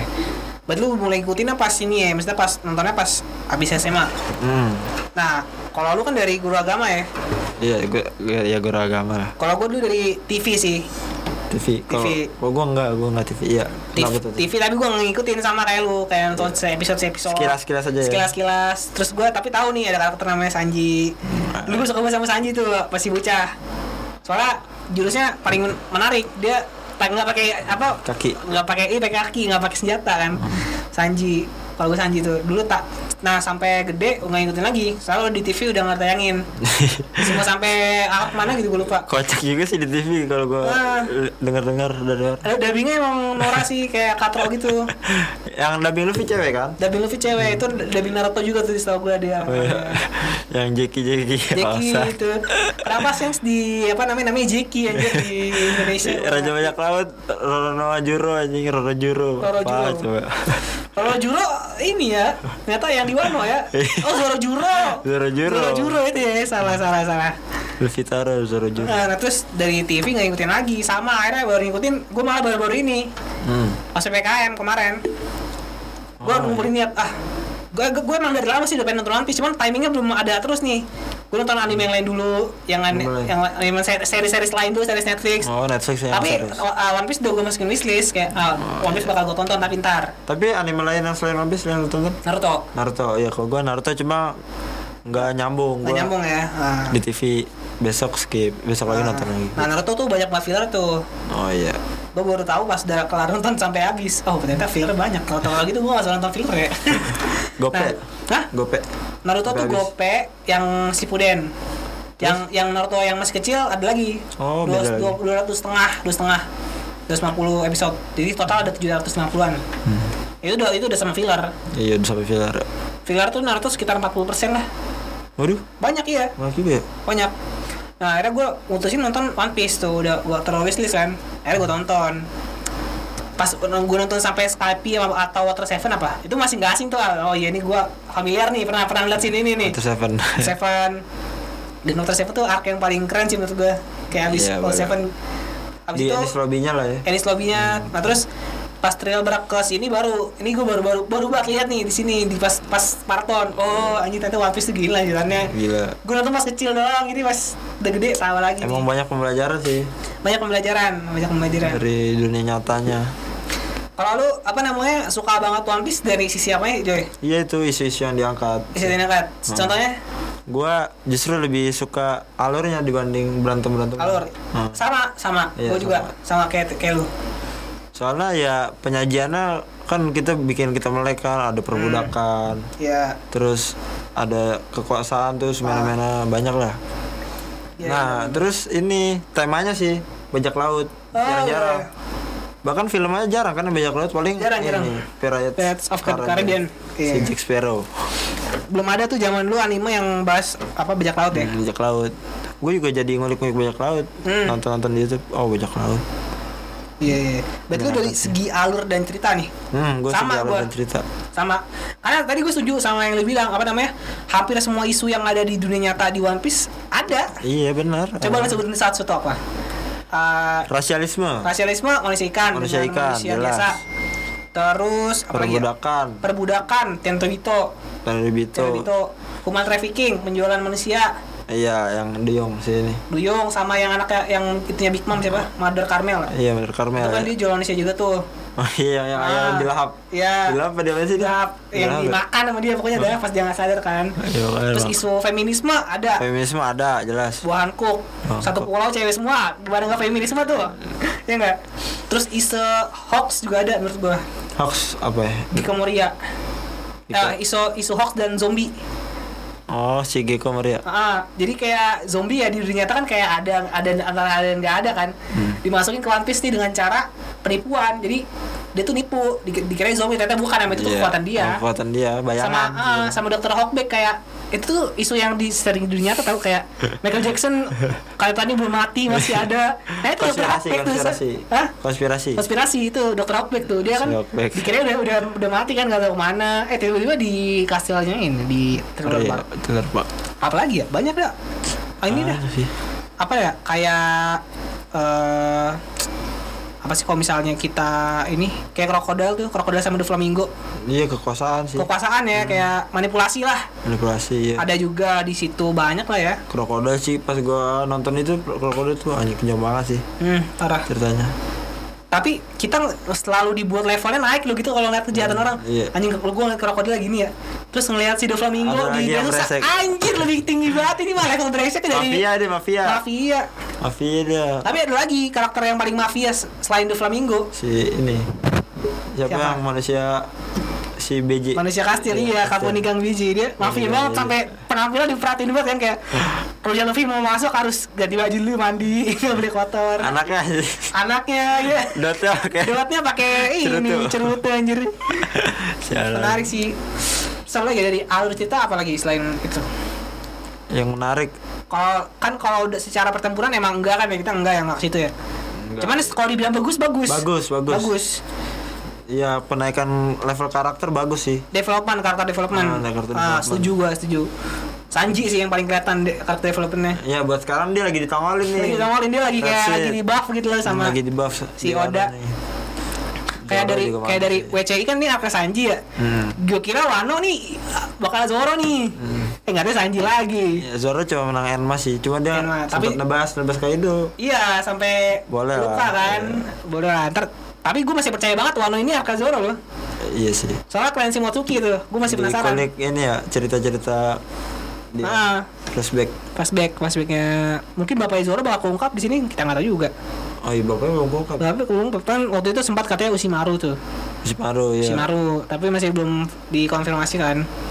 Speaker 1: Berarti lu mulai ngikutinnya pas ini ya, maksudnya pas nontonnya pas abis SMA.
Speaker 2: Hmm
Speaker 1: Nah, kalau lu kan dari guru agama ya.
Speaker 2: Iya, gue ya gue agama lah
Speaker 1: Kalau gue dulu dari TV sih.
Speaker 2: TV. Kalau
Speaker 1: TV.
Speaker 2: kalau gue enggak, gue enggak TV. Iya.
Speaker 1: TV,
Speaker 2: Kenapa tuh?
Speaker 1: TV tapi gue ngikutin sama kayak lu kayak nonton episode episode
Speaker 2: Sekilas-sekilas aja ya?
Speaker 1: sekilas-sekilas terus gue tapi tahu nih ada karakter namanya Sanji dulu gue suka banget sama Sanji tuh pasti bocah soalnya jurusnya paling men- menarik dia pa- nggak pakai apa
Speaker 2: Kaki.
Speaker 1: nggak pakai i pakai kaki nggak pakai senjata kan Sanji kalau gue Sanji tuh dulu tak nah sampai gede gue nggak ngikutin lagi selalu di TV udah nggak
Speaker 2: *laughs*
Speaker 1: tayangin semua sampai ah, mana gitu gue lupa
Speaker 2: Kocak juga sih di TV kalau gue
Speaker 1: Ah.
Speaker 2: dengar-dengar dari orang.
Speaker 1: ada Eh, dubbingnya emang Nora sih kayak katro gitu
Speaker 2: *laughs* Yang dubbing Luffy cewek
Speaker 1: *laughs*
Speaker 2: kan?
Speaker 1: Dubbing Luffy cewek itu dubbing Naruto juga tuh setahu gue dia.
Speaker 2: Oh, iya. yang Jeki Jeki
Speaker 1: Jeki itu. Kenapa sense di apa namanya namanya Jeki aja di Indonesia.
Speaker 2: *laughs* Raja Bajak Laut Roronoa Juro anjing Roro Juro
Speaker 1: Roro Juro.
Speaker 2: Apa
Speaker 1: *laughs*
Speaker 2: coba
Speaker 1: Kalau Juro ini ya, ternyata yang di Wano
Speaker 2: *laughs*
Speaker 1: ya. Oh, Zoro Juro.
Speaker 2: Zoro Juro.
Speaker 1: Zoro Juro itu ya, salah salah salah.
Speaker 2: Luffy Taro Zoro Juro
Speaker 1: Nah, nah, terus dari TV nggak ngikutin lagi, sama akhirnya baru ngikutin. Gue malah baru-baru ini
Speaker 2: hmm.
Speaker 1: pas PKM kemarin. Gue
Speaker 2: Oh,
Speaker 1: ngumpulin niat ah gue gue emang dari lama sih udah pengen nonton One Piece, cuman timingnya belum ada terus nih gue nonton anime yang lain dulu yang an-
Speaker 2: Belum mulai.
Speaker 1: yang anime seri-seri lain dulu series Netflix
Speaker 2: Oh Netflix yang
Speaker 1: tapi
Speaker 2: serius.
Speaker 1: uh, One Piece udah gue masukin wishlist kayak ah,
Speaker 2: Oh,
Speaker 1: One
Speaker 2: iya.
Speaker 1: Piece bakal gue tonton tapi ntar
Speaker 2: Tapi anime lain yang selain One Piece yang lu tonton
Speaker 1: Naruto
Speaker 2: Naruto ya kalau gua Naruto cuma nggak nyambung
Speaker 1: nggak
Speaker 2: gua
Speaker 1: nyambung ya Ah.
Speaker 2: di TV besok skip besok lagi nonton lagi
Speaker 1: nah Naruto tuh banyak banget filler tuh
Speaker 2: Oh iya
Speaker 1: gue baru tahu pas udah kelar nonton sampai habis oh ternyata filler banyak kalau tahu lagi tuh gue nggak suka nonton
Speaker 2: *laughs*
Speaker 1: filler ya
Speaker 2: Gope.
Speaker 1: Nah, Hah?
Speaker 2: Gope
Speaker 1: Naruto
Speaker 2: Sampai
Speaker 1: tuh
Speaker 2: habis.
Speaker 1: gope yang Shippuden. Yang yang Naruto yang masih kecil ada lagi.
Speaker 2: Oh,
Speaker 1: dua,
Speaker 2: beda lagi.
Speaker 1: dua, dua ratus setengah, dua setengah, dua ratus lima puluh episode. Jadi total ada tujuh ratus lima puluhan.
Speaker 2: Hmm.
Speaker 1: Itu udah itu udah sama filler.
Speaker 2: Iya udah sampai filler
Speaker 1: Filler tuh Naruto sekitar 40% lah.
Speaker 2: Waduh
Speaker 1: Banyak iya,
Speaker 2: Nggak juga ya
Speaker 1: banyak. Nah akhirnya gue mutusin nonton One Piece tuh udah gue terlalu wishlist kan. Akhirnya gue tonton pas gue nonton sampai Skype sama- atau Water Seven apa itu masih nggak asing tuh Al. oh iya ini gue familiar nih pernah pernah lihat sini nih nih
Speaker 2: Itu Seven
Speaker 1: Seven dan Dr. Seven tuh arc yang paling keren sih menurut gue kayak abis
Speaker 2: Iya,
Speaker 1: All
Speaker 2: bener.
Speaker 1: Seven abis
Speaker 2: Di
Speaker 1: itu
Speaker 2: Anis Lobby-nya lah ya
Speaker 1: Ennis Lobby-nya nah terus pas trail berak ke sini baru ini gue baru baru baru banget lihat nih di sini di pas pas Parton oh anjing ternyata One Piece tuh gila jalannya
Speaker 2: Gila
Speaker 1: gue nonton pas kecil doang ini pas udah gede sama lagi nih.
Speaker 2: Emang banyak pembelajaran sih
Speaker 1: banyak pembelajaran banyak pembelajaran
Speaker 2: dari dunia nyatanya
Speaker 1: kalau lu apa namanya suka banget One Piece dari sisi apa ya Joy
Speaker 2: iya itu isu-isu yang diangkat
Speaker 1: sisi kan
Speaker 2: Hmm.
Speaker 1: contohnya
Speaker 2: gua justru lebih suka alurnya dibanding Nah. berantem berantem
Speaker 1: alur sama sama
Speaker 2: Hmm. Iya,
Speaker 1: gue juga sama kayak kayak lu
Speaker 2: soalnya ya penyajiannya kan kita bikin kita melek kan
Speaker 1: Hmm.
Speaker 2: ada perbudakan
Speaker 1: ya
Speaker 2: terus ada kekuasaan terus semena-mena banyak lah
Speaker 1: Iya,
Speaker 2: nah terus ini temanya sih bajak laut
Speaker 1: Oh,
Speaker 2: jarang-jarang
Speaker 1: iya.
Speaker 2: bahkan filmnya jarang karena banyak banget paling
Speaker 1: Jarang, jarang.
Speaker 2: ini, Pirates,
Speaker 1: Pirates of the Caribbean. Iya.
Speaker 2: si Jack Sparrow
Speaker 1: belum ada tuh zaman dulu anime yang bahas apa bajak laut ya
Speaker 2: bajak laut gue juga jadi ngulik-ngulik bajak laut
Speaker 1: Hmm.
Speaker 2: nonton nonton di YouTube oh bajak laut
Speaker 1: iya iya berarti lu dari segi alur dan cerita nih
Speaker 2: iya. hmm gue
Speaker 1: Sama
Speaker 2: sejarah
Speaker 1: gua.
Speaker 2: dan cerita
Speaker 1: sama karena tadi gue setuju sama yang lu bilang apa namanya hampir semua isu yang ada di dunia nyata di One Piece ada
Speaker 2: iya benar
Speaker 1: coba lu
Speaker 2: Eh,
Speaker 1: sebutin satu satu apa Eh,
Speaker 2: rasialisme
Speaker 1: rasialisme manusia ikan
Speaker 2: Manusia
Speaker 1: dengan
Speaker 2: ikan,
Speaker 1: manusia
Speaker 2: jelas.
Speaker 1: biasa terus apa lagi ya?
Speaker 2: perbudakan
Speaker 1: perbudakan tento hito
Speaker 2: dari
Speaker 1: tento hito human trafficking penjualan manusia
Speaker 2: iya yang Deong sini
Speaker 1: duyung sama yang anaknya yang itunya Big Mom siapa Mother Carmel lah.
Speaker 2: iya benar
Speaker 1: itu
Speaker 2: Karmel
Speaker 1: kan
Speaker 2: ya.
Speaker 1: dia jual manusia juga tuh
Speaker 2: *laughs* oh iya yang ayam
Speaker 1: Ah,
Speaker 2: dilahap
Speaker 1: iya.
Speaker 2: dilahap apa dia apa sih
Speaker 1: Gelap, yang
Speaker 2: Dilahap ya?
Speaker 1: dimakan sama dia pokoknya ada pas dia nggak sadar kan
Speaker 2: Iya, makanya
Speaker 1: terus
Speaker 2: mak-
Speaker 1: isu feminisme ada
Speaker 2: feminisme ada jelas
Speaker 1: buah hankuk
Speaker 2: Hankuk.
Speaker 1: satu pulau cewek semua gimana nggak feminisme
Speaker 2: *laughs*
Speaker 1: tuh ya nggak terus isu hoax juga ada menurut gua
Speaker 2: hoax apa ya
Speaker 1: di Komoria
Speaker 2: Diko-
Speaker 1: Eh, isu isu hoax dan zombie
Speaker 2: oh si Geko Maria
Speaker 1: Ah, jadi kayak zombie ya di dunia nyata kan kayak ada ada antara ada dan nggak ada kan
Speaker 2: Hmm.
Speaker 1: dimasukin ke One Piece nih dengan cara penipuan jadi dia tuh nipu di- dikira zombie ternyata bukan emang itu tuh
Speaker 2: Iya,
Speaker 1: kekuatan dia
Speaker 2: kekuatan dia
Speaker 1: sama
Speaker 2: bayangan
Speaker 1: ah, sama dokter Hockback kayak itu tuh isu yang di sering di dunia tuh tahu
Speaker 2: *laughs*
Speaker 1: kayak Michael Jackson kelihatannya belum mati masih ada nah itu dokter
Speaker 2: konspirasi
Speaker 1: Hockback tuh
Speaker 2: konspirasi
Speaker 1: Hah?
Speaker 2: konspirasi
Speaker 1: konspirasi itu dokter Hockback tuh dia kan
Speaker 2: Si Hockback.
Speaker 1: dikira udah udah udah mati kan nggak tahu mana eh tiba-tiba di kastilnya ini di Trevor
Speaker 2: Iya,
Speaker 1: Park
Speaker 2: benar pak
Speaker 1: apalagi ya banyak dah oh, ini dah
Speaker 2: Ah, sih.
Speaker 1: apa ya kayak eh apa sih kalau misalnya kita ini kayak krokodil tuh krokodil sama flamingo
Speaker 2: iya Hmm. kekuasaan sih
Speaker 1: kekuasaan ya kayak manipulasi lah
Speaker 2: manipulasi ya
Speaker 1: ada juga di situ banyak lah ya
Speaker 2: krokodil sih pas gua nonton itu krokodil tuh anjing kenyang banget sih
Speaker 1: hmm, parah
Speaker 2: ceritanya
Speaker 1: tapi kita selalu dibuat levelnya naik lo gitu kalau ngeliat kejahatan orang
Speaker 2: Iya.
Speaker 1: anjing kalau gue ngeliat krokodil gini ya terus ngeliat si Doflamingo
Speaker 2: Ada
Speaker 1: di
Speaker 2: lagi yang
Speaker 1: rusak
Speaker 2: brengsek.
Speaker 1: anjir lebih tinggi banget ini mah level Dresek dari
Speaker 2: mafia deh mafia
Speaker 1: mafia
Speaker 2: mafia dia
Speaker 1: tapi ada lagi karakter yang paling mafia s- selain Doflamingo
Speaker 2: si ini siapa,
Speaker 1: Siapa?
Speaker 2: yang manusia si BJ
Speaker 1: manusia kastil iya
Speaker 2: kastil. Iya,
Speaker 1: kapuni gang biji dia mafia
Speaker 2: Gang
Speaker 1: banget
Speaker 2: Biji.
Speaker 1: sampai penampilan diperhatiin banget kan kayak Roger Luffy mau masuk harus ganti baju dulu mandi *laughs* nggak boleh kotor
Speaker 2: anaknya *laughs* sih
Speaker 1: anaknya ya
Speaker 2: dotnya kayak
Speaker 1: Dewatnya pakai ini
Speaker 2: Cerutu.
Speaker 1: cerutu anjir.
Speaker 2: Sialan.
Speaker 1: Menarik sih. Sama lagi dari alur cerita apalagi selain itu.
Speaker 2: yang menarik
Speaker 1: Kalau kan kalau udah secara pertempuran emang enggak kan ya kita enggak yang maksud itu ya.
Speaker 2: Enggak.
Speaker 1: Cuman kalau dibilang bagus bagus.
Speaker 2: Bagus, bagus.
Speaker 1: Bagus.
Speaker 2: ya penaikan level karakter bagus sih
Speaker 1: Development karakter development.
Speaker 2: Ah, karakter
Speaker 1: Ah,
Speaker 2: development.
Speaker 1: setuju gua, setuju. Sanji sih yang paling kelihatan de- karakter developmentnya.
Speaker 2: ya buat sekarang dia lagi ditongolin nih
Speaker 1: Lagi sama Olin, dia lagi kayak
Speaker 2: That's
Speaker 1: lagi
Speaker 2: it.
Speaker 1: di buff gitu loh sama
Speaker 2: lagi di buff
Speaker 1: si
Speaker 2: Dia
Speaker 1: Oda.
Speaker 2: nih.
Speaker 1: kayak
Speaker 2: Zoro
Speaker 1: dari
Speaker 2: juga
Speaker 1: kayak dari
Speaker 2: masih.
Speaker 1: WCI kan nih apa Sanji ya.
Speaker 2: Hmm.
Speaker 1: Gue kira Wano nih bakal Zoro nih.
Speaker 2: Hmm.
Speaker 1: Eh nggak ada Sanji lagi.
Speaker 2: Ya, Zoro cuma menang Enma sih cuma dia
Speaker 1: Enma, tapi-
Speaker 2: sempat nebas nebas kayak itu
Speaker 1: Iya, sampai
Speaker 2: Boleh
Speaker 1: lupa
Speaker 2: lah, Iya.
Speaker 1: kan. Boleh lah. Ntar, tapi gue masih percaya banget Wano ini Arka Zoro loh.
Speaker 2: iya sih
Speaker 1: Soalnya klan si Motsuki tuh, gue masih
Speaker 2: Di
Speaker 1: penasaran.
Speaker 2: ikonik ini ya cerita-cerita di
Speaker 1: Ah,
Speaker 2: flashback
Speaker 1: flashback, flashbacknya mungkin bapaknya Zoro bakal keungkap di sini kita nggak tahu juga.
Speaker 2: oh iya bapaknya belum bokap
Speaker 1: Tapi keungkap kan waktu itu sempat katanya Ushimaru tuh,
Speaker 2: Shimaru ya
Speaker 1: Ushimaru, tapi masih belum dikonfirmasi kan.